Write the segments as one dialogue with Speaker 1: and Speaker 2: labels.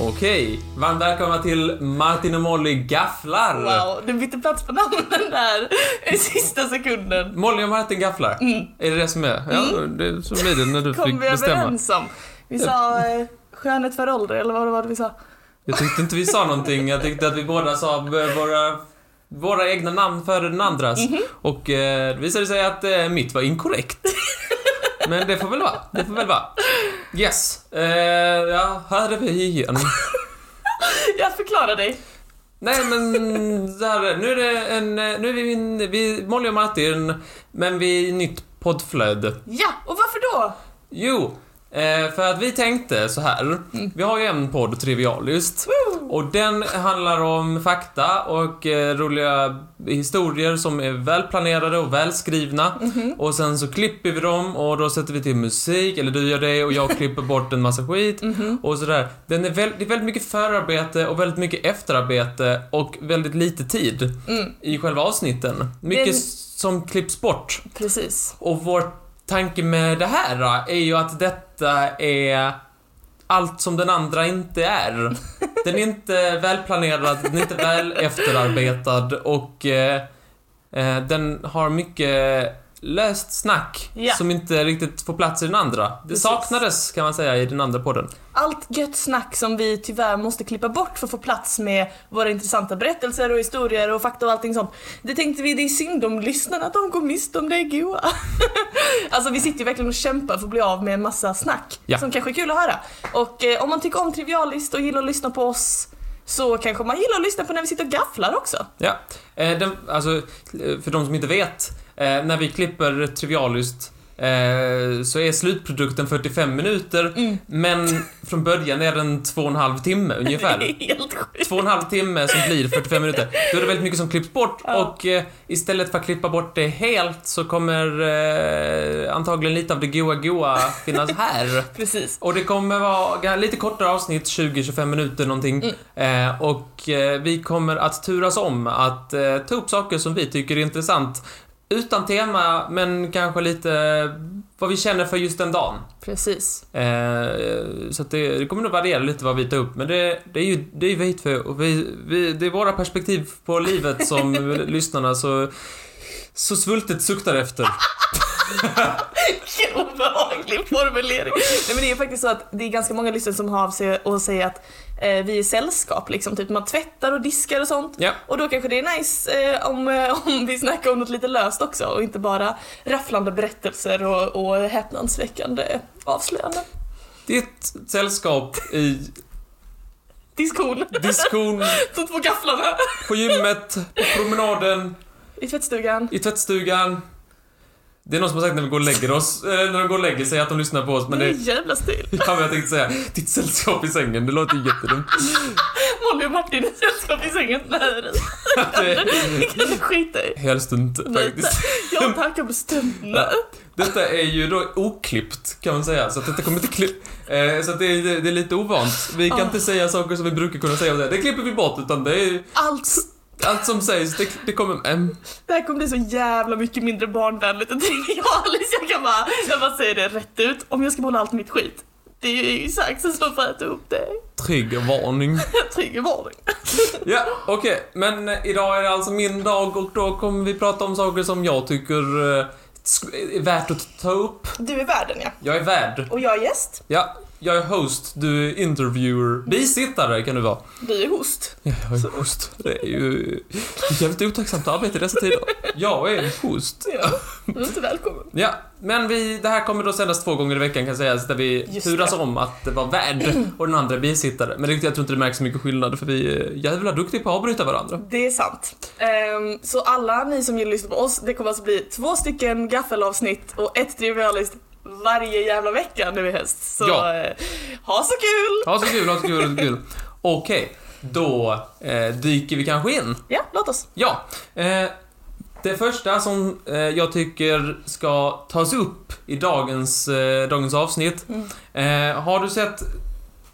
Speaker 1: Okej, varmt välkomna till Martin och Molly gafflar!
Speaker 2: Wow, du bytte plats på namnen där i sista sekunden.
Speaker 1: Molly och Martin gafflar? Är det det som är? Ja, det, så blir det när du
Speaker 2: Mm. Kom
Speaker 1: fick
Speaker 2: vi
Speaker 1: bestämma.
Speaker 2: överens om. Vi sa eh, skönhet för ålder, eller vad det var det vi sa?
Speaker 1: Jag tyckte inte vi sa någonting, jag tyckte att vi båda sa eh, våra, våra egna namn före den andras.
Speaker 2: Mhm.
Speaker 1: Och eh, det visade sig att eh, mitt var inkorrekt. Men det får väl vara, det får väl vara. Yes, eh, ja, här är vi igen.
Speaker 2: Jag förklarar dig.
Speaker 1: Nej men så här, nu är det en, nu är vi, in, vi Molly och Martin, men vi är i nytt poddflöde.
Speaker 2: Ja, och varför då?
Speaker 1: Jo, eh, för att vi tänkte så här. Vi har ju en podd, Trivialist. Och den handlar om fakta och eh, roliga historier som är välplanerade och välskrivna.
Speaker 2: Mm-hmm.
Speaker 1: Och sen så klipper vi dem och då sätter vi till musik, eller du gör det och jag klipper bort en massa skit.
Speaker 2: Mm-hmm.
Speaker 1: Och sådär. Den är väl, det är väldigt mycket förarbete och väldigt mycket efterarbete och väldigt lite tid
Speaker 2: Mm,
Speaker 1: i själva avsnitten. Mycket
Speaker 2: Det-
Speaker 1: som klipps bort.
Speaker 2: Precis.
Speaker 1: Och vår tanke med det här då, är ju att detta är allt som den andra inte är. Den är inte välplanerad, den är inte väl efterarbetad och eh, eh, den har mycket löst snack
Speaker 2: Ja.
Speaker 1: som inte riktigt får plats i den andra. Det
Speaker 2: Precis.
Speaker 1: saknades kan man säga i den andra podden.
Speaker 2: Allt gött snack som vi tyvärr måste klippa bort för att få plats med våra intressanta berättelser och historier och fakta och allting sånt. Det tänkte vi, det är synd om lyssnarna att de går miste om det goa. alltså vi sitter ju verkligen och kämpar för att bli av med en massa snack
Speaker 1: Ja.
Speaker 2: som kanske är kul att höra. Och eh, om man tycker om Trivialist och gillar att lyssna på oss så kanske man gillar att lyssna på när vi sitter och gafflar också.
Speaker 1: Ja. Eh, den, alltså, eh, för de som inte vet, eh, när vi klipper Trivialist eh, så är slutprodukten 45 minuter, men från början är den två och en halv timme
Speaker 2: Det
Speaker 1: ungefär.
Speaker 2: är helt sjukt.
Speaker 1: Två och en halv timme som blir 45 minuter. Då är det väldigt mycket som klipps bort och eh, istället för att klippa bort det helt så kommer eh, antagligen lite av det goa goa finnas här.
Speaker 2: Precis.
Speaker 1: Och det kommer vara ga- lite kortare avsnitt, 20-25 minuter någonting. Eh, och eh, vi kommer att turas om att eh, ta upp saker som vi tycker är intressant. Utan tema, men kanske lite eh, vad vi känner för just den dagen.
Speaker 2: Precis.
Speaker 1: Eh, så att det, det kommer nog variera lite vad vi tar upp, men det, det är ju det är ju vi hit för. Och vi, vi, det är våra perspektiv på livet som lyssnarna så, så svultet suktar efter.
Speaker 2: Vilken obehaglig formulering. Nej, men det är faktiskt så att det är ganska många lyssnare som har av sig och säger att eh, vi är sällskap liksom. Typ man tvättar och diskar och sånt.
Speaker 1: Ja.
Speaker 2: Och då kanske det är nice eh, om, eh, om vi snackar om något lite löst också och inte bara rafflande berättelser och, och häpnadsväckande avslöjanden.
Speaker 1: Det är ett sällskap i
Speaker 2: Diskon.
Speaker 1: diskon,
Speaker 2: De två gafflarna.
Speaker 1: på gymmet, på promenaden,
Speaker 2: I tvättstugan.
Speaker 1: I tvättstugan. Det är någon som har sagt när vi går och lägger oss, eller när de går och lägger sig att de lyssnar på oss men
Speaker 2: det är
Speaker 1: det...
Speaker 2: en jävla stil.
Speaker 1: Ja, men jag tänkte säga, ditt sällskap i sängen, det låter ju jättedumt.
Speaker 2: Molly och Martin är sällskap i sängen. Nej, det-
Speaker 1: Det
Speaker 2: det kan
Speaker 1: Mm.
Speaker 2: du skita i.
Speaker 1: helst inte
Speaker 2: Nej,
Speaker 1: faktiskt.
Speaker 2: Jag tackar bestämt nej.
Speaker 1: Detta är ju då oklippt kan man säga, så att detta kommer inte klipp... Eh, så att det, är- det är lite ovant. Vi kan
Speaker 2: Ah.
Speaker 1: inte säga saker som vi brukar kunna säga, och säga det klipper vi bort utan det är
Speaker 2: Allt
Speaker 1: allt som sägs, det, det kommer... ehm,
Speaker 2: Det här kommer bli så jävla mycket mindre barnvänligt än trivialiskt. Jag kan bara, jag bara säger det rätt ut. Om jag ska behålla allt mitt skit. Det är ju saxen som får äta upp det.
Speaker 1: triggervarning.
Speaker 2: Trygg i vardagen.
Speaker 1: Ja, okej. Men eh, idag är det alltså min dag och då kommer vi prata om saker som jag tycker eh, sk- är värt att ta upp.
Speaker 2: Du är värden ja.
Speaker 1: Jag är värd.
Speaker 2: Och jag är gäst.
Speaker 1: Ja, jag är host, du är interviewer. Bisittare kan du vara.
Speaker 2: Du är host.
Speaker 1: Ja, jag är host. Det är ju ett jävligt otacksamt arbete i dessa tider. Jag är host.
Speaker 2: Ja. Du är inte välkommen.
Speaker 1: Ja, men vi, det här kommer då sändas två gånger i veckan kan sägas, där vi
Speaker 2: Just
Speaker 1: turas
Speaker 2: det.
Speaker 1: om att vara värd och den andra är bisittare. Men det, jag tror inte det märks så mycket skillnad för vi är jävla duktiga på att avbryta varandra.
Speaker 2: Det är sant. Ehm, så alla ni som vill lyssna på oss, det kommer alltså bli två stycken gaffelavsnitt och ett trivialist varje jävla vecka nu i höst. Så
Speaker 1: Ja.
Speaker 2: eh, ha så kul!
Speaker 1: Ja, så kul, ja, så kul, så kul. Okej, då eh, dyker vi kanske in.
Speaker 2: Ja, låt oss.
Speaker 1: Ja, eh, det första som eh, jag tycker ska tas upp i dagens, eh, dagens avsnitt. Eh, har du sett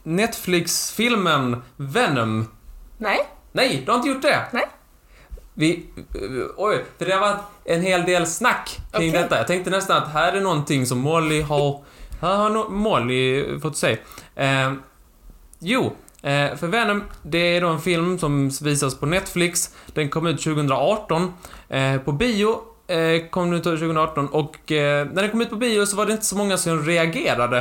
Speaker 1: Netflix-filmen Venom?
Speaker 2: Nej.
Speaker 1: Nej, du har inte gjort det?
Speaker 2: Nej.
Speaker 1: Vi, eh, oj, för det har varit en hel del snack kring
Speaker 2: Okej.
Speaker 1: detta. Jag tänkte nästan att här är någonting som Molly har, här har no, Molly fått se. Eh, jo, Eh, för Venom, det är då en film som visas på Netflix. Den kom ut 2018. Eh, på bio eh, kom den ut 2018 och eh, när den kom ut på bio så var det inte så många som reagerade.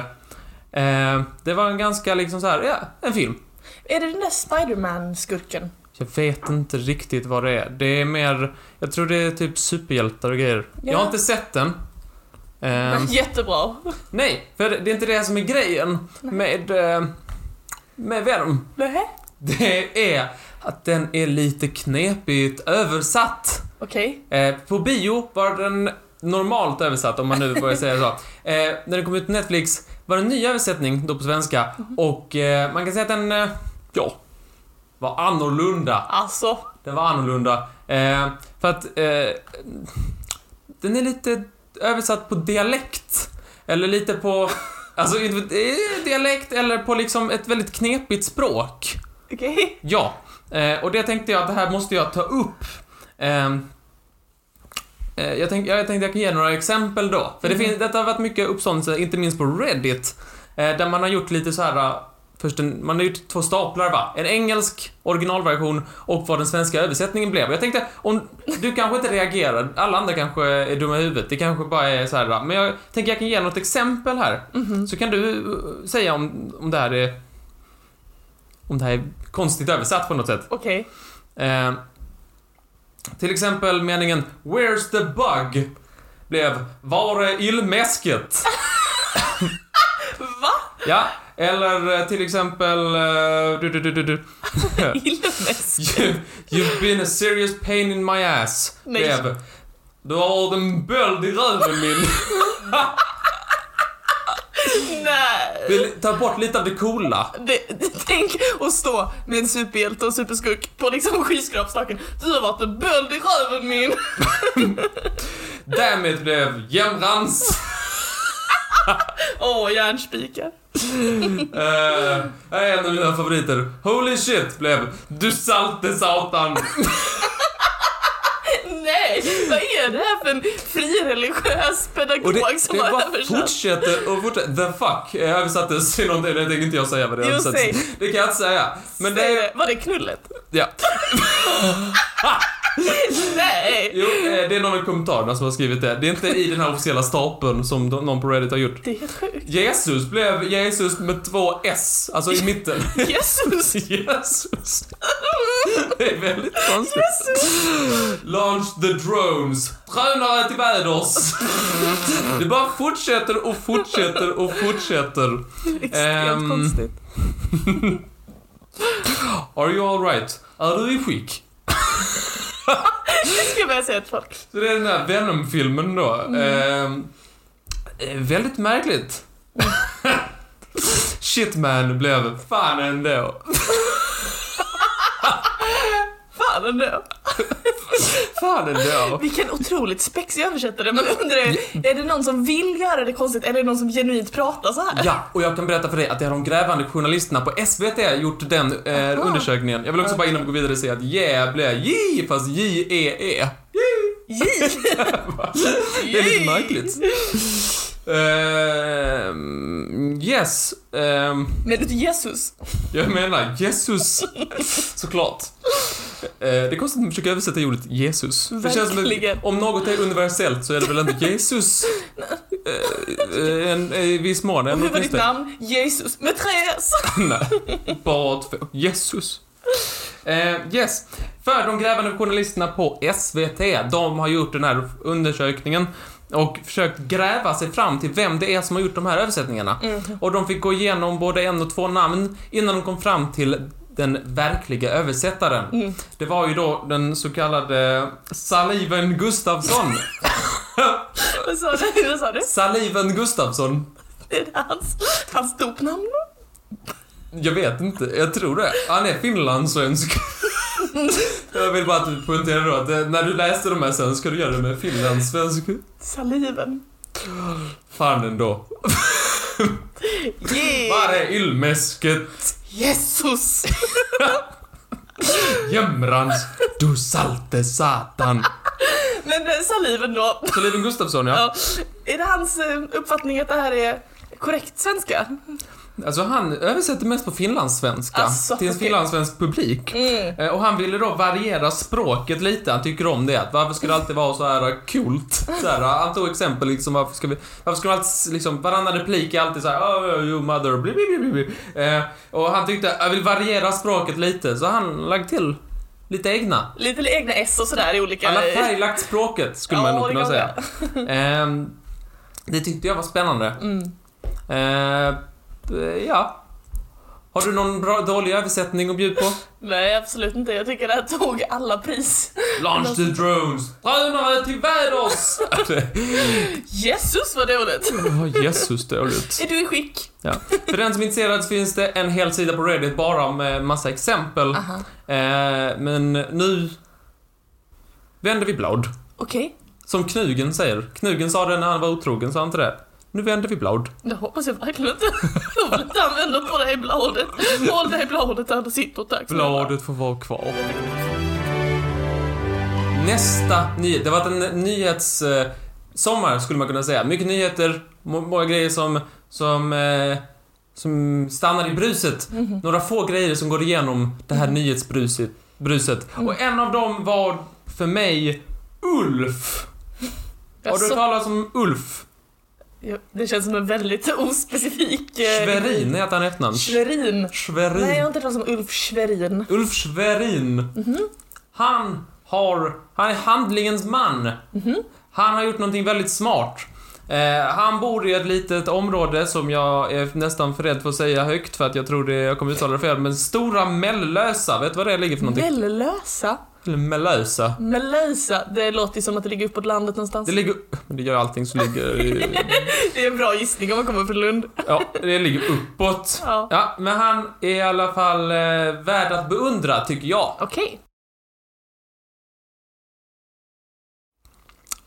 Speaker 1: Eh, det var en ganska liksom så här, ja, en film.
Speaker 2: Är det den där Spiderman-skurken?
Speaker 1: Jag vet inte riktigt vad det är. Det är mer, jag tror det är typ superhjältar och grejer.
Speaker 2: Ja.
Speaker 1: Jag har inte sett den. Ehm,
Speaker 2: Jättebra.
Speaker 1: nej, för det är inte det som är grejen med, eh, med Venom.
Speaker 2: Nähä?
Speaker 1: Det är att den är lite knepigt översatt.
Speaker 2: Okej.
Speaker 1: Eh, på bio var den normalt översatt, om man nu börjar säga så. Eh, när den kom ut på Netflix var det en ny översättning, då på svenska. Och eh, man kan säga att den, eh, ja, var annorlunda.
Speaker 2: Alltså.
Speaker 1: Den var annorlunda. Eh, för att eh, den är lite översatt på dialekt. Eller lite på, alltså inte- eh, dialekt eller på liksom ett väldigt knepigt språk.
Speaker 2: Okej.
Speaker 1: Ja, eh, och det tänkte jag att det här måste jag ta upp. Eh, eh, jag, tänk, jag tänkte jag kan ge några exempel då. För det
Speaker 2: Mm.
Speaker 1: finns, detta har varit mycket uppståndelse, inte minst på Reddit. Eh, där man har gjort lite så här... eh, Först en, man har gjort två staplar va? En engelsk originalversion och vad den svenska översättningen blev. Jag tänkte, om du kanske inte reagerar, alla andra kanske är dumma i huvudet, det kanske bara är så här. va? Men jag tänker jag kan ge något exempel här.
Speaker 2: Mhm.
Speaker 1: Så kan du eh, säga om, om det här är... Om det här är konstigt översatt på något sätt.
Speaker 2: Okej.
Speaker 1: Eh, till exempel meningen “Where's the bug?” blev “Var är illmäsket?”
Speaker 2: Va?
Speaker 1: Ja, eller eh, till exempel... eh, du, du, du, du, du.
Speaker 2: Illmäsk.
Speaker 1: You, “You've been a serious pain in my ass”
Speaker 2: Nej.
Speaker 1: blev “Du har en böld i röven min”
Speaker 2: Nej.
Speaker 1: Vill ta bort lite av det coola.
Speaker 2: Det, tänk att stå med en superhjälte och superskurk på liksom skyskrapstaken. Du har varit en böld i röven min.
Speaker 1: Därmed blev “Jämrans”
Speaker 2: Åh, oh, järnspikar.
Speaker 1: Eh, en av mina favoriter. Holy shit blev Du salte satan.
Speaker 2: Nej, vad är det här för en frireligiös pedagog
Speaker 1: Och det,
Speaker 2: som
Speaker 1: det
Speaker 2: har
Speaker 1: bara
Speaker 2: översatt?
Speaker 1: fortsätter och fortsätter. The fuck eh, översattes till någonting. Det tänker inte jag säga vad det
Speaker 2: Jo,
Speaker 1: översattes
Speaker 2: säg.
Speaker 1: till. Det kan jag inte säga. Men det är...
Speaker 2: Var det knullet?
Speaker 1: Ja.
Speaker 2: Nej!
Speaker 1: Jo, eh, det är någon i kommentarerna som har skrivit det. Det är inte i den här officiella stapeln som de- någon på Reddit har gjort.
Speaker 2: Det är helt sjukt.
Speaker 1: Jesus blev Jesus med två S, alltså i mitten.
Speaker 2: Jesus!
Speaker 1: Jesus. Det är väldigt konstigt. Launch the drones. Drönare till väders. Det bara fortsätter och fortsätter och fortsätter.
Speaker 2: Extremt
Speaker 1: Ehm.
Speaker 2: konstigt.
Speaker 1: Are you alright? Är du i skick?
Speaker 2: Jag ska börja säga till folk.
Speaker 1: Så det är den där Venom-filmen då. Ehm, eh, väldigt märkligt. Shitman blev fan ändå.
Speaker 2: Fan ändå.
Speaker 1: Fan ändå.
Speaker 2: Vilken otroligt spexig översättare. Man undrar ju, är det någon som vill göra det konstigt eller är det någon som genuint pratar så här?
Speaker 1: Ja, och jag kan berätta för dig att det har de grävande journalisterna på SVT gjort den eh,
Speaker 2: Aha.
Speaker 1: undersökningen. Jag vill också bara innan vi går vidare säga att jävla J, E, fast J-E-E.
Speaker 2: J!
Speaker 1: Det är lite märkligt. Ehm, yes. ehm,
Speaker 2: Men du Jesus.
Speaker 1: jag menar Jesus. Såklart. Eh, det är konstigt att försöka översätta ordet Jesus. Det känns som
Speaker 2: Verkligen.
Speaker 1: att om något är universellt så är det väl ändå Jesus. Eh, eh, en, eh, I viss mån.
Speaker 2: Och
Speaker 1: ändå
Speaker 2: hur var ditt
Speaker 1: åtminstone.
Speaker 2: namn? Jesus. Med tre S.
Speaker 1: Nej, bara två. Jesus. Eh, yes. För de grävande journalisterna på SVT, de har gjort den här undersökningen och försökt gräva sig fram till vem det är som har gjort de här översättningarna. Och de fick gå igenom både en och två namn innan de kom fram till den verkliga översättaren.
Speaker 2: Mm.
Speaker 1: Det var ju då den så kallade Saliven Gustafsson.
Speaker 2: Vad sa du? Vad sa du?
Speaker 1: Saliven Gustafsson.
Speaker 2: Det är hans, hans dopnamn.
Speaker 1: Jag vet inte, jag tror det. Han är finlandssvensk. jag vill bara att du poängterar då att eh, när du läser de här sen ska du göra det med finlandssvensk.
Speaker 2: Saliven.
Speaker 1: Fan ändå. Var
Speaker 2: Yeah.
Speaker 1: är ylmäsket?
Speaker 2: Jesus.
Speaker 1: Jämrans? Du salte satan.
Speaker 2: Men eh, saliven då.
Speaker 1: Så Liven Gustafsson ja.
Speaker 2: Ja. Är det hans eh, uppfattning att det här är korrekt svenska?
Speaker 1: Alltså han översätter mest på finlandssvenska
Speaker 2: Alltså,
Speaker 1: till en
Speaker 2: okej.
Speaker 1: finlandssvensk publik.
Speaker 2: Mm.
Speaker 1: Eh, Och han ville då variera språket lite, han tycker om det. Att varför ska det alltid vara så här coolt? Så här, eh, han tog exempel liksom, varför ska vi... Varför ska man alltid, liksom, varannan replik är alltid så här, oh, you mother, bli, bli, bli, bli, bli. Eh, Och han tyckte, jag vill variera språket lite, så han lagt till lite egna.
Speaker 2: Lite egna S och sådär i olika...
Speaker 1: Han har färglagt språket, skulle man
Speaker 2: Ja,
Speaker 1: nog
Speaker 2: det
Speaker 1: kunna
Speaker 2: kan
Speaker 1: säga. Ehm, Det tyckte jag var spännande.
Speaker 2: Mm.
Speaker 1: Eh, ja. Har du någon bra, dålig översättning att bjuda på?
Speaker 2: Nej, absolut inte. Jag tycker det här tog alla pris.
Speaker 1: Launch the drones! Drönare till väders!
Speaker 2: Jesus vad dåligt!
Speaker 1: oh, Jesus, dåligt.
Speaker 2: Är du i skick?
Speaker 1: Ja. För den som är intresserad så finns det en hel sida på Reddit bara med massa exempel. Eh,
Speaker 2: Aha.
Speaker 1: men nu vänder vi blad.
Speaker 2: Okej,
Speaker 1: Som Knugen säger. Knugen sa det när han var otrogen, sa han inte det? Nu vänder vi blad.
Speaker 2: det hoppas jag verkligen inte. Jag vill inte använda på det här bladet. Håll det här bladet där det sitter, tack snälla.
Speaker 1: Bladet får vara kvar. Nästa nyhet. Det har varit en nyhets... Eh, sommar skulle man kunna säga. Mycket nyheter, må- många grejer som... Som, eh, som stannar i bruset.
Speaker 2: Mhm.
Speaker 1: Några få grejer som går igenom det här nyhetsbruset. Bruset.
Speaker 2: Mm.
Speaker 1: Och en av dem var för mig Ulf. Har du
Speaker 2: Jaså?
Speaker 1: hört talas om Ulf?
Speaker 2: Ja, Det känns som en väldigt ospecifik... eh,
Speaker 1: Schwerin heter han i efternamn.
Speaker 2: Schwerin. Nej, jag har
Speaker 1: Schwerin.
Speaker 2: inte hört talas om Ulf Schwerin.
Speaker 1: Ulf Schwerin. Han har... Han är handlingens man. Han har gjort någonting väldigt smart. Eh, han bor i ett litet område som jag är nästan för rädd för att säga högt för att jag tror det, jag kommer uttala det fel, men Stora Mellösa, vet du vad det ligger för någonting?
Speaker 2: Mellösa?
Speaker 1: Eller Mellösa.
Speaker 2: Mellösa, det låter ju som att det ligger uppåt landet någonstans.
Speaker 1: Det ligger... Det gör allting som ligger... i-
Speaker 2: Det är en bra gissning om man kommer från Lund.
Speaker 1: Ja, det ligger uppåt.
Speaker 2: Ja.
Speaker 1: Ja, men han är i alla fall eh, värd att beundra, tycker jag.
Speaker 2: Okej.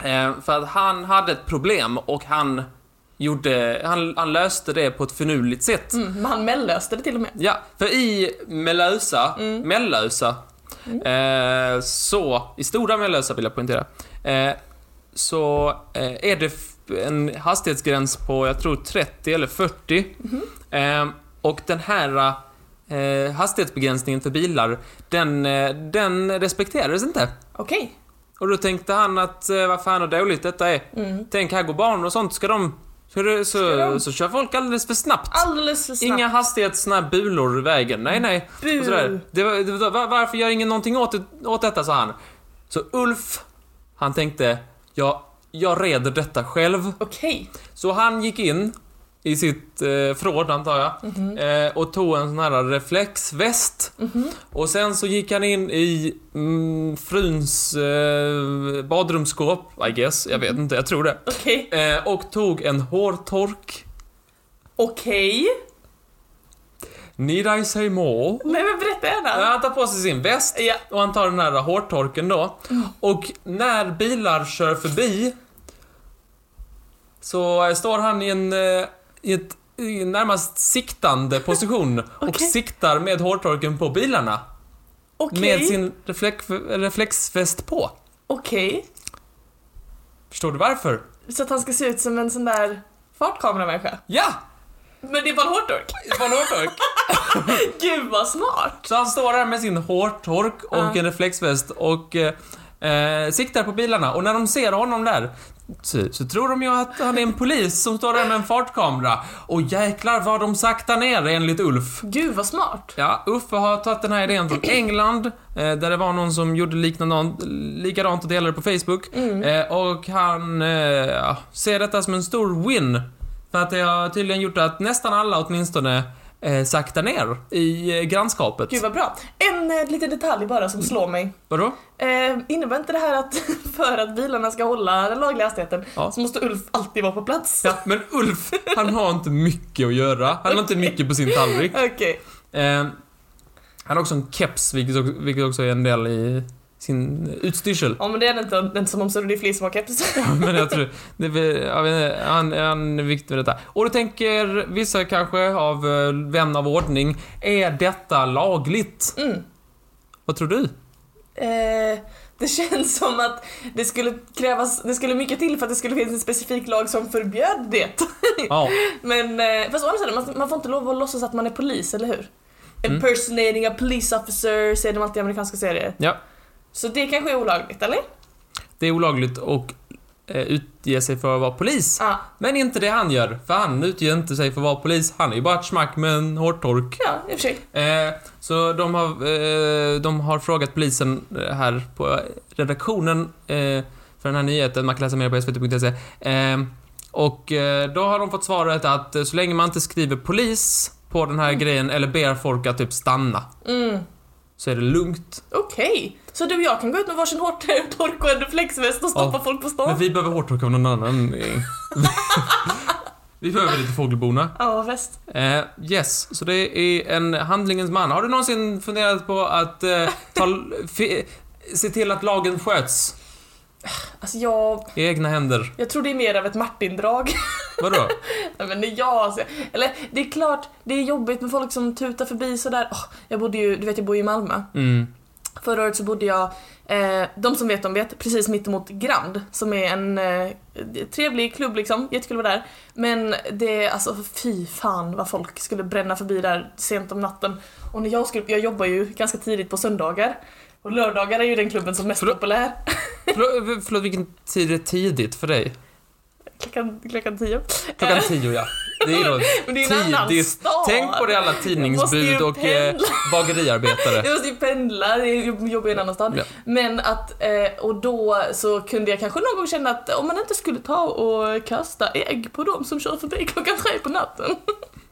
Speaker 1: Eh, för att han hade ett problem och han gjorde, han, han löste det på ett finurligt sätt.
Speaker 2: Mm, men han mellöste det till och med.
Speaker 1: Ja, för i Mellösa, Mellösa, eh, så, i Stora Mellösa vill jag poängtera, eh, så eh, är det f- en hastighetsgräns på, jag tror 30 eller 40. Eh, och den här eh, hastighetsbegränsningen för bilar, den, eh, den respekterades inte.
Speaker 2: Okej.
Speaker 1: Och då tänkte han att eh, vad fan vad dåligt detta är.
Speaker 2: Mm.
Speaker 1: Tänk här går barn och sånt, ska de... Så, det- så,
Speaker 2: Ska de?
Speaker 1: så kör folk alldeles för snabbt.
Speaker 2: Alldeles för snabbt.
Speaker 1: Inga hastighetsna bulor i vägen, nej nej.
Speaker 2: Bu.
Speaker 1: Och sådär. Det var, det var, var- varför gör ingen någonting åt, det- åt detta, sa han. Så Ulf, han tänkte, jag, jag reder detta själv.
Speaker 2: Okej.
Speaker 1: Så han gick in i sitt eh, förråd, antar jag,
Speaker 2: Mhm.
Speaker 1: eh, och tog en sån här reflexväst. Och sen så gick han in i mm, fruns eh, badrumsskåp, I guess, jag
Speaker 2: Mhm.
Speaker 1: vet inte, jag tror det.
Speaker 2: Okej.
Speaker 1: Eh, och tog en hårtork.
Speaker 2: Okej.
Speaker 1: Need I say more?
Speaker 2: Nej men berätta
Speaker 1: Ja,
Speaker 2: gärna.
Speaker 1: Han tar på sig sin väst
Speaker 2: Ja.
Speaker 1: och han tar den här hårtorken då.
Speaker 2: Mm.
Speaker 1: Och när bilar kör förbi så eh, står han i en, eh, i ett, i en närmast siktande position och
Speaker 2: Okej.
Speaker 1: siktar med hårtorken på bilarna med
Speaker 2: Okej.
Speaker 1: sin reflek, reflexväst på.
Speaker 2: Okej.
Speaker 1: Förstår du varför?
Speaker 2: Så att han ska se ut som en sån där fartkameramänniska.
Speaker 1: Ja!
Speaker 2: Men det är bara en hårtork.
Speaker 1: Det var en hårtork.
Speaker 2: Gud vad smart.
Speaker 1: Så han står där med sin hårtork och
Speaker 2: Ja.
Speaker 1: en reflexväst och eh, eh, siktar på bilarna och när de ser honom där så, så tror de ju att han är en polis som står där med en fartkamera. Och jäklar vad de saktar ner enligt Ulf.
Speaker 2: Gud vad smart.
Speaker 1: Ja, Uffe har tagit den här idén från England, eh, där det var någon som gjorde liknande, likadant och delade på Facebook.
Speaker 2: Mm.
Speaker 1: Eh, och han eh, ja, ser detta som en stor win. För att det har tydligen gjort att nästan alla åtminstone eh, saktar ner i eh, grannskapet.
Speaker 2: Gud vad bra. En eh, liten detalj bara som slår mig.
Speaker 1: Vadå?
Speaker 2: Eh, innebär inte det här att för att bilarna ska hålla den lagliga hastigheten
Speaker 1: Ja.
Speaker 2: så måste Ulf alltid vara på plats?
Speaker 1: Ja, men Ulf, han har inte mycket att göra. Han har inte mycket på sin tallrik.
Speaker 2: Okej.
Speaker 1: Eh, han har också en keps, vilket också, vilket också är en del i sin utstyrsel.
Speaker 2: Ja men det är det inte, det är inte som om så det är fler som har keps.
Speaker 1: Men jag tror, det, är- jag vet inte, han, han är viktig med detta. Och då tänker vissa kanske av eh, vän av ordning, är detta lagligt?
Speaker 2: Mm.
Speaker 1: Vad tror du?
Speaker 2: Eh, det känns som att det skulle krävas, det skulle mycket till för att det skulle finnas en specifik lag som förbjöd det.
Speaker 1: Ja.
Speaker 2: Men, eh, fast å andra sidan, man, man får inte lov att låtsas att man är polis, eller hur?
Speaker 1: Mm.
Speaker 2: Impersonating a police officer säger de alltid i amerikanska serier.
Speaker 1: ja.
Speaker 2: Så det kanske är olagligt, eller?
Speaker 1: Det är olagligt att eh, utge sig för att vara polis.
Speaker 2: Ja.
Speaker 1: Men inte det han gör, för han utger inte sig för att vara polis. Han är ju bara ett smack med en hårtork.
Speaker 2: Ja, i och för sig.
Speaker 1: Eh, så de har, eh, de har frågat polisen eh, här på redaktionen eh, för den här nyheten, man kan läsa mer på svt.se. Eh, och eh, då har de fått svaret att eh, så länge man inte skriver polis på den här grejen eller ber folk att typ stanna
Speaker 2: Mm.
Speaker 1: så är det lugnt.
Speaker 2: Okej, så du och jag kan gå ut med varsin hårtork och en reflexväst och stoppa
Speaker 1: Ja,
Speaker 2: folk på
Speaker 1: Men
Speaker 2: stan?
Speaker 1: vi behöver hårtork av någon annan. eh. vi behöver lite fågelbona.
Speaker 2: Ja, väst.
Speaker 1: Eh, yes, så det är en handlingens man. Har du någonsin funderat på att eh, ta, fi, se till att lagen sköts
Speaker 2: Alltså jag,
Speaker 1: i egna händer?
Speaker 2: jag tror det är mer av ett Martin-drag.
Speaker 1: Vadå?
Speaker 2: Nej men det är jag alltså. Eller det är klart, det är jobbigt med folk som tutar förbi sådär. Åh, jag bodde ju, du vet jag bor ju i Malmö.
Speaker 1: Mm.
Speaker 2: Förra året så bodde jag, eh, de som vet de vet, precis mittemot Grand som är en eh, trevlig klubb liksom, jättekul att vara där. Men det, alltså fy fan vad folk skulle bränna förbi där sent om natten. Och när jag skulle, jag jobbar ju ganska tidigt på söndagar. Och lördagar är ju den klubben som är mest
Speaker 1: Förlåt?
Speaker 2: populär.
Speaker 1: Förlåt, förlåt, vilken tid är tidigt för dig?
Speaker 2: Klockan, klockan tio.
Speaker 1: Klockan tio, ja. Det är då
Speaker 2: Men Eh. det är en annan
Speaker 1: tidigt.
Speaker 2: stad.
Speaker 1: Tänk på det alla tidningsbud
Speaker 2: ju
Speaker 1: och eh,
Speaker 2: pendla.
Speaker 1: bageriarbetare.
Speaker 2: Jag måste ju pendla, det är ju- jobbar i en annan stad.
Speaker 1: Ja.
Speaker 2: Men att, eh, och då så kunde jag kanske någon gång känna att om man inte skulle ta och kasta ägg på dem som kör förbi klockan tre på natten.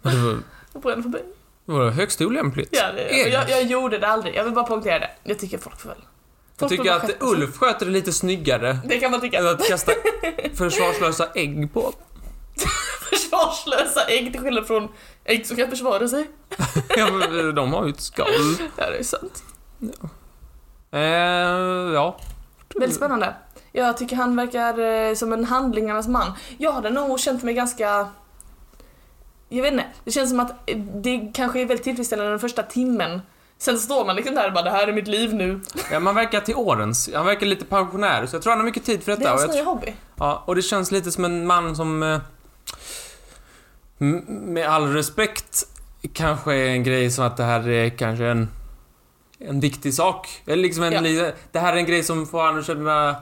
Speaker 1: Det var,
Speaker 2: Och bränner förbi.
Speaker 1: det var högst olämpligt.
Speaker 2: Ja, det,
Speaker 1: Ägg.
Speaker 2: jag, jag gjorde det aldrig, jag vill bara poängtera det. Jag tycker folk får väl.
Speaker 1: Jag
Speaker 2: folk får
Speaker 1: tycker
Speaker 2: bara
Speaker 1: att
Speaker 2: skämta sig.
Speaker 1: Ulf sköter det lite snyggare
Speaker 2: Det kan man tycka.
Speaker 1: än att kasta försvarslösa ägg på.
Speaker 2: Försvarslösa ägg till skillnad från ägg som kan försvara sig.
Speaker 1: Ja, men eh, De har ju ett skal.
Speaker 2: Ja, det är sant.
Speaker 1: Eh, ja. Mm.
Speaker 2: Väldigt spännande. Jag tycker han verkar eh, som en handlingarnas man. Jag hade nog känt mig ganska... Jag vet inte, det känns som att eh, det kanske är väldigt tillfredsställande den första timmen. Sen står man liksom där och bara det här är mitt liv nu.
Speaker 1: ja, man verkar till årens. Han verkar lite pensionär, så jag tror han har mycket tid för
Speaker 2: Det är
Speaker 1: detta. och
Speaker 2: hans
Speaker 1: jag
Speaker 2: nya hobby.
Speaker 1: Ja, och det känns lite som en man som eh, m- med all respekt kanske är en grej som att det här är kanske en en viktig sak. Eller liksom en
Speaker 2: Ja.
Speaker 1: li- Det här är en grej som får han att känna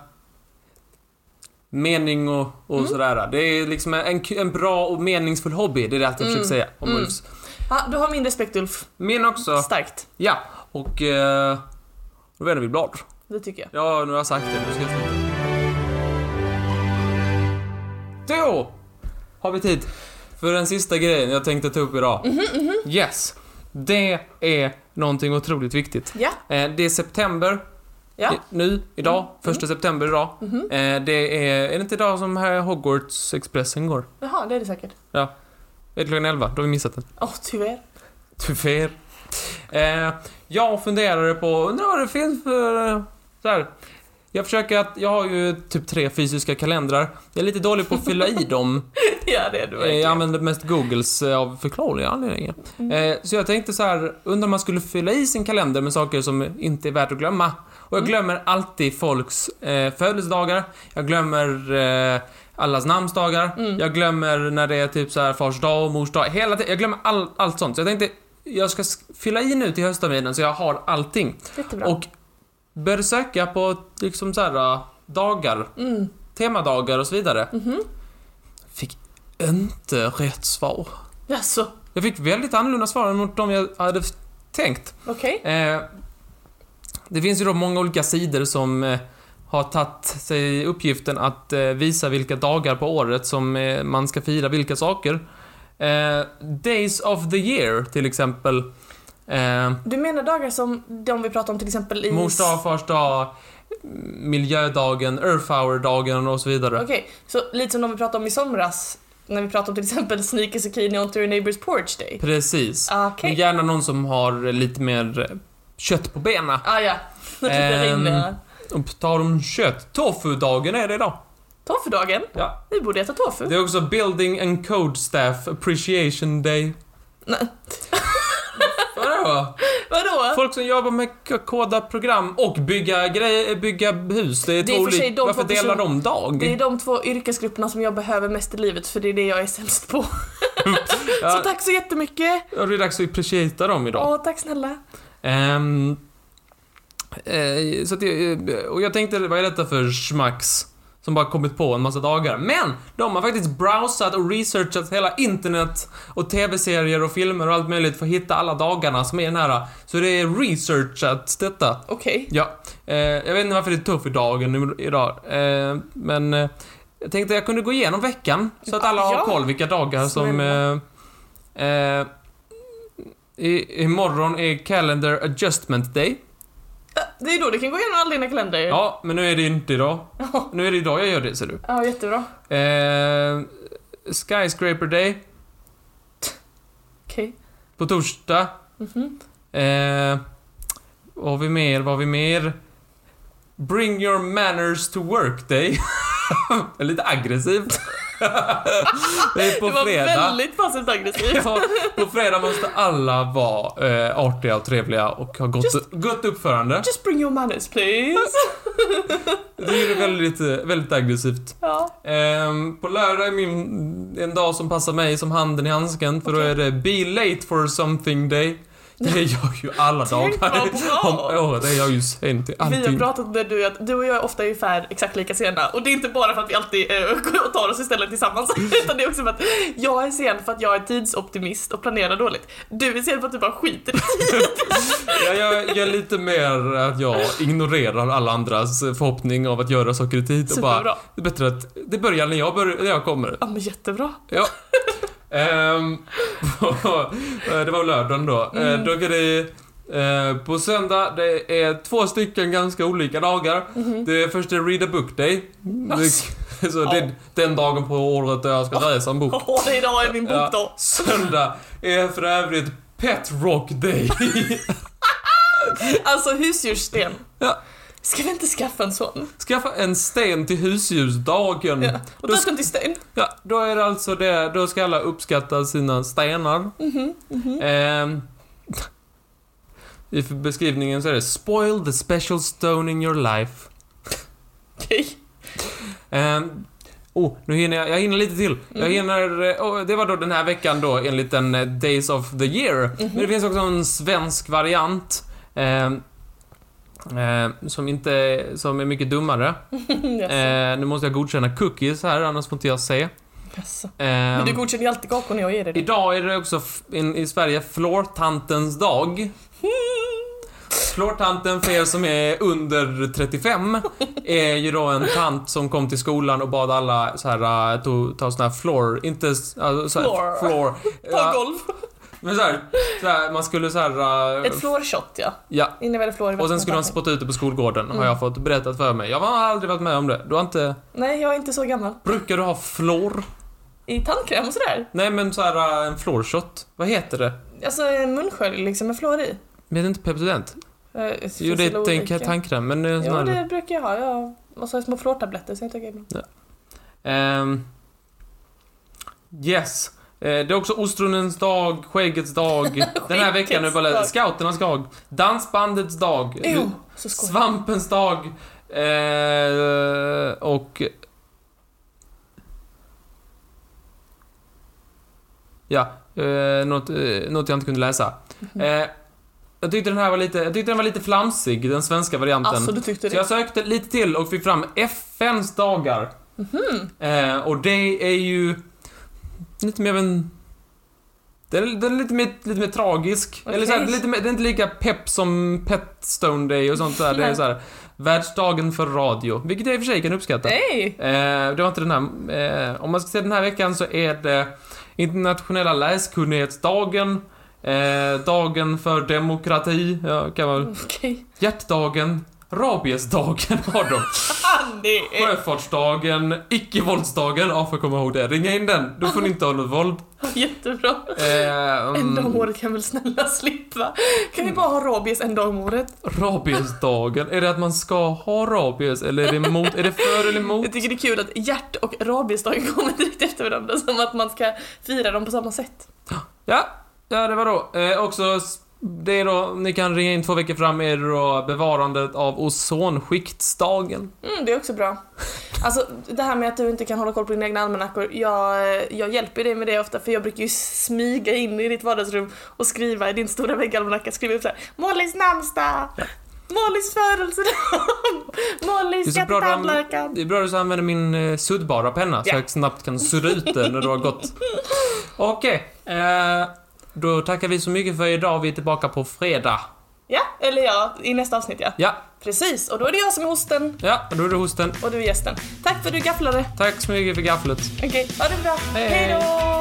Speaker 1: mening och, och
Speaker 2: Mm.
Speaker 1: sådär. Det är liksom en, en bra och meningsfull hobby, det är det allt jag
Speaker 2: Mm.
Speaker 1: försöker säga om
Speaker 2: Mm.
Speaker 1: Ulfs.
Speaker 2: Ha, du har min respekt Ulf.
Speaker 1: Min också.
Speaker 2: Starkt.
Speaker 1: Ja, och eh, då vänder vi blad.
Speaker 2: Det tycker jag.
Speaker 1: Ja, nu har jag sagt det. Nu ska jag sluta. Då har vi tid för den sista grejen jag tänkte ta upp idag. Yes. Det är någonting otroligt viktigt.
Speaker 2: Ja.
Speaker 1: Eh, Det är september
Speaker 2: Ja. Mm,
Speaker 1: i- nu, idag. Första september idag.
Speaker 2: Mm-hmm.
Speaker 1: Eh, Det är, är det inte idag som här Hogwarts-expressen går?
Speaker 2: Jaha, det är det säkert.
Speaker 1: Är det klockan 11? Då har vi missat den.
Speaker 2: Åh, tyvärr.
Speaker 1: Tyvärr. Eh, jag funderade på, undrar vad det finns för... eh, Så här. Jag försöker att, jag har ju typ tre fysiska kalendrar. Jag är lite dålig på att fylla i dem.
Speaker 2: Ja, det är du
Speaker 1: Eh, Jag
Speaker 2: verkligen.
Speaker 1: använder mest Googles eh, av förklarliga anledningar.
Speaker 2: Mm.
Speaker 1: Eh, så jag tänkte så här, undrar om man skulle fylla i sin kalender med saker som inte är värt att glömma. Och jag
Speaker 2: Mm.
Speaker 1: glömmer alltid folks eh, födelsedagar. Jag glömmer eh, allas namnsdagar.
Speaker 2: Mm.
Speaker 1: Jag glömmer när det är typ så här fars dag och mors dag. Hela tiden. Jag glömmer all, allt sånt. Så jag tänkte, jag ska sk- fylla i nu till höstterminen så jag har allting.
Speaker 2: Jättebra.
Speaker 1: Och började söka på liksom så här eh, dagar,
Speaker 2: Mm. Mm-hmm.
Speaker 1: temadagar och så vidare. Fick inte rätt svar.
Speaker 2: Jaså,
Speaker 1: Jag fick väldigt annorlunda svar än mot de jag hade f- tänkt.
Speaker 2: okej.
Speaker 1: Eh, det finns ju då många olika sidor som eh, har tagit sig uppgiften att eh, visa vilka dagar på året som eh, man ska fira vilka saker. Eh, Days of the year till exempel. Eh,
Speaker 2: Du menar dagar som de vi pratade om till exempel i...
Speaker 1: mors dag, fars dag, miljödagen, earth hour-dagen och så vidare.
Speaker 2: Okej, så lite som de vi pratade om i somras när vi pratade om till exempel Sneaker Zucchini on to your neighbor's porch day.
Speaker 1: Precis.
Speaker 2: Ah,
Speaker 1: Men
Speaker 2: Okej.
Speaker 1: gärna någon som har eh, lite mer eh, kött på benen.
Speaker 2: Ah ja, nu tyckte jag det
Speaker 1: Ehm.
Speaker 2: ringde.
Speaker 1: Och på tal om kött, tofu-dagen är det idag.
Speaker 2: Tofudagen.
Speaker 1: Ja.
Speaker 2: Vi borde äta tofu.
Speaker 1: Det är också Building and Code Staff Appreciation Day.
Speaker 2: Nej.
Speaker 1: Vadå?
Speaker 2: Vadå?
Speaker 1: Folk som jobbar med k- koda program och bygga, grej, bygga hus. Det är,
Speaker 2: Det är
Speaker 1: två
Speaker 2: i och för sig
Speaker 1: olika-
Speaker 2: de
Speaker 1: Varför
Speaker 2: två
Speaker 1: delar
Speaker 2: personer-
Speaker 1: de dag?
Speaker 2: Det är de två yrkesgrupperna som jag behöver mest i livet för det är det jag är sämst på. Så
Speaker 1: ja,
Speaker 2: tack så jättemycket!
Speaker 1: och det är dags att appreciata dem idag.
Speaker 2: Ja, tack snälla.
Speaker 1: Ehm, eh, så att jag, eh, och jag tänkte, vad är detta för schmax? Som bara kommit på en massa dagar. Men! De har faktiskt browsat och researchat hela internet och tv-serier och filmer och allt möjligt för att hitta alla dagarna som är den här. Så det är researchat detta.
Speaker 2: Okej.
Speaker 1: Ja. Eh, jag vet inte varför det är tuff i dagen i- idag. Eh, men eh, jag tänkte jag kunde gå igenom veckan så att alla har
Speaker 2: Ja.
Speaker 1: koll vilka dagar som...
Speaker 2: Snälla.
Speaker 1: Eh, eh, i, imorgon är calendar adjustment day.
Speaker 2: Äh, Det är då du kan gå igenom alla dina kalendrar.
Speaker 1: Ja, men nu är det ju inte idag.
Speaker 2: Ja.
Speaker 1: Nu är det idag jag gör det, ser du.
Speaker 2: Ja, jättebra.
Speaker 1: Eh, skyscraper day
Speaker 2: Okej.
Speaker 1: på torsdag.
Speaker 2: Mhm.
Speaker 1: Eh, vad har vi mer? Vad har vi mer? Bring your manners to work day. Det är Lite aggressivt. Det är
Speaker 2: Det
Speaker 1: på
Speaker 2: var
Speaker 1: fredag.
Speaker 2: väldigt passivt aggressivt.
Speaker 1: Ja, På fredag måste alla vara eh, artiga och trevliga och ha gott,
Speaker 2: Just-
Speaker 1: gott uppförande.
Speaker 2: Just bring your manners please.
Speaker 1: Det är ju väldigt, eh, väldigt aggressivt.
Speaker 2: Ja.
Speaker 1: Ehm, på lördag är min, en dag som passar mig som handen i handsken för då
Speaker 2: Okej.
Speaker 1: är det Be late for something day. Det är jag ju alla
Speaker 2: Tänk vad
Speaker 1: dagar om
Speaker 2: bra.
Speaker 1: året. Det är jag ju sen till
Speaker 2: Vi har
Speaker 1: allting.
Speaker 2: pratat med du, att du och jag är ofta ungefär exakt lika sena och det är inte bara för att vi alltid eh, går och tar oss istället tillsammans utan det är också för att jag är sen för att jag är tidsoptimist och planerar dåligt. Du är sen för att du bara skiter i
Speaker 1: Ja, jag, jag är lite mer att jag ignorerar alla andras förhoppning av att göra saker i tid och bara,
Speaker 2: Superbra.
Speaker 1: det är bättre att det börjar när jag, börjar, när jag kommer.
Speaker 2: Ja men jättebra.
Speaker 1: Ja. Ehm, eh, det var lördagen då. Mm. Då är det eh, på söndag, det är två stycken ganska olika dagar. Det första är Read a Book Day.
Speaker 2: Alltså,
Speaker 1: Det, så det, den dagen på året där jag ska läsa en bok.
Speaker 2: Åh, idag är min bok
Speaker 1: Ja,
Speaker 2: då.
Speaker 1: söndag är för övrigt Pet Rock Day.
Speaker 2: Alltså husdjurssten.
Speaker 1: Ja.
Speaker 2: Ska vi inte skaffa en sån?
Speaker 1: Skaffa en sten till husdjursdagen.
Speaker 2: Ja. Och
Speaker 1: Då
Speaker 2: döpt den till Sten.
Speaker 1: Ja, då är det alltså det, då ska alla uppskatta sina stenar.
Speaker 2: Mhm,
Speaker 1: Ehm, I för- beskrivningen så är det “Spoil the special stone in your life”.
Speaker 2: Okej.
Speaker 1: Ehm, oh, nu hinner jag, jag hinner lite till.
Speaker 2: Mm.
Speaker 1: Jag hinner, eh, oh, det var då den här veckan då enligt den eh, Days of the Year.
Speaker 2: Mm-hmm.
Speaker 1: Men det finns också en svensk variant. ehm, ehm, som inte, som är mycket dummare.
Speaker 2: Jaså.
Speaker 1: Ehm, nu måste jag godkänna cookies här, annars får inte jag se.
Speaker 2: Jaså.
Speaker 1: Ehm,
Speaker 2: Men du godkänner ju alltid kakor när jag ger dig det.
Speaker 1: Idag är det också f- in, i Sverige Flortantens dag. Flortanten för er som är under 35 är ju då en tant som kom till skolan och bad alla så här, äh, to, ta sån här floor, inte s- alltså, så här,
Speaker 2: Floor.
Speaker 1: floor.
Speaker 2: Ta
Speaker 1: Ja,
Speaker 2: golv.
Speaker 1: men så här, så här, man skulle så här, äh,
Speaker 2: Ett fluorshot ja.
Speaker 1: ja.
Speaker 2: Innebär det fluor i
Speaker 1: Och sen
Speaker 2: vattnet,
Speaker 1: skulle de
Speaker 2: vattnet.
Speaker 1: spotta ut det på skolgården, har jag fått berättat för mig. Jag har aldrig varit med om det. Du har inte...
Speaker 2: Nej, jag är inte så gammal.
Speaker 1: Brukar du ha flor?
Speaker 2: I tandkräm och sådär.
Speaker 1: Nej men så här, äh, en floorshot. Vad heter det?
Speaker 2: Alltså en munskölj liksom med fluor i.
Speaker 1: Vet inte Pepsodent?
Speaker 2: Eh, finns
Speaker 1: Jo, det
Speaker 2: väl
Speaker 1: är en
Speaker 2: olika.
Speaker 1: tandkräm, men det är en sån
Speaker 2: Jo,
Speaker 1: här...
Speaker 2: det brukar jag ha. Jag och så har jag små fluortabletter så jag tycker ibland.
Speaker 1: Ehm, yes. Eh, Det är också ostronens dag, skäggets dag. Den här veckan nu bara
Speaker 2: Skäggets
Speaker 1: scouternas dag. Dansbandets dag.
Speaker 2: Jo, så skoj.
Speaker 1: Svampens dag. Eh, och... Ja, eh, något, eh, något jag inte kunde läsa.
Speaker 2: Mhm.
Speaker 1: Eh, jag tyckte den här var lite, jag tyckte den var lite flamsig, den svenska varianten.
Speaker 2: Alltså du tyckte
Speaker 1: Så
Speaker 2: det?
Speaker 1: jag sökte lite till och fick fram FNs dagar.
Speaker 2: Mhm.
Speaker 1: Eh, och det är ju lite mer av en... Den är, den är lite, mer, lite mer tragisk.
Speaker 2: Okej.
Speaker 1: Eller så här, lite mer, det är inte lika pepp som Petstone Day och sånt där. Det är
Speaker 2: Nej.
Speaker 1: så här, världsdagen för radio. Vilket jag i och för sig kan uppskatta.
Speaker 2: Nej!
Speaker 1: Eh, det var inte den här... Eh, om man ska säga den här veckan så är det internationella läskunnighetsdagen. Eh, dagen för demokrati. Ja, kan man
Speaker 2: Okej.
Speaker 1: Hjärtdagen, rabiesdagen har de.
Speaker 2: Ah, det är
Speaker 1: Sjöfartsdagen, icke-våldsdagen. Ja, får komma ihåg det. Ringa in den. Då får ni inte ha något våld.
Speaker 2: jättebra.
Speaker 1: Eh,
Speaker 2: En dag om
Speaker 1: mm,
Speaker 2: året kan väl snälla slippa? Kan vi bara ha rabies en dag om året?
Speaker 1: rabiesdagen. Är det att man ska ha rabies eller är det emot? Är det för eller emot?
Speaker 2: Jag tycker det är kul att hjärt och rabiesdagen kommer direkt efter varandra som att man ska fira dem på samma sätt.
Speaker 1: Ja, ja det var då. Eh, också s- Det är då, ni kan ringa in två veckor fram, är det då bevarandet av ozonskiktsdagen.
Speaker 2: Mm, det är också bra. Alltså det här med att du inte kan hålla koll på dina egna almanackor. Jag, jag hjälper dig med det ofta för jag brukar ju smyga in i ditt vardagsrum och skriva i din stora väggalmanacka, skriva upp såhär Mollis namnsdag! Mollis födelsedag!
Speaker 1: Det är
Speaker 2: Mollis
Speaker 1: så bra du anv-
Speaker 2: skattetandläkaren!
Speaker 1: Det är bra att du använder min eh, suddbara penna så
Speaker 2: Ja.
Speaker 1: jag snabbt kan sudda ut det när du har gått. Okej, eh, då tackar vi så mycket för idag. Vi är tillbaka på fredag.
Speaker 2: Ja, eller ja, i nästa avsnitt ja.
Speaker 1: Ja,
Speaker 2: Precis, och då är det jag som är hosten
Speaker 1: ja, då är det hosten.
Speaker 2: och du är gästen. Tack för att du gafflade.
Speaker 1: Tack så mycket för gafflet.
Speaker 2: Okej, ha det bra.
Speaker 1: Hej.
Speaker 2: Hej då!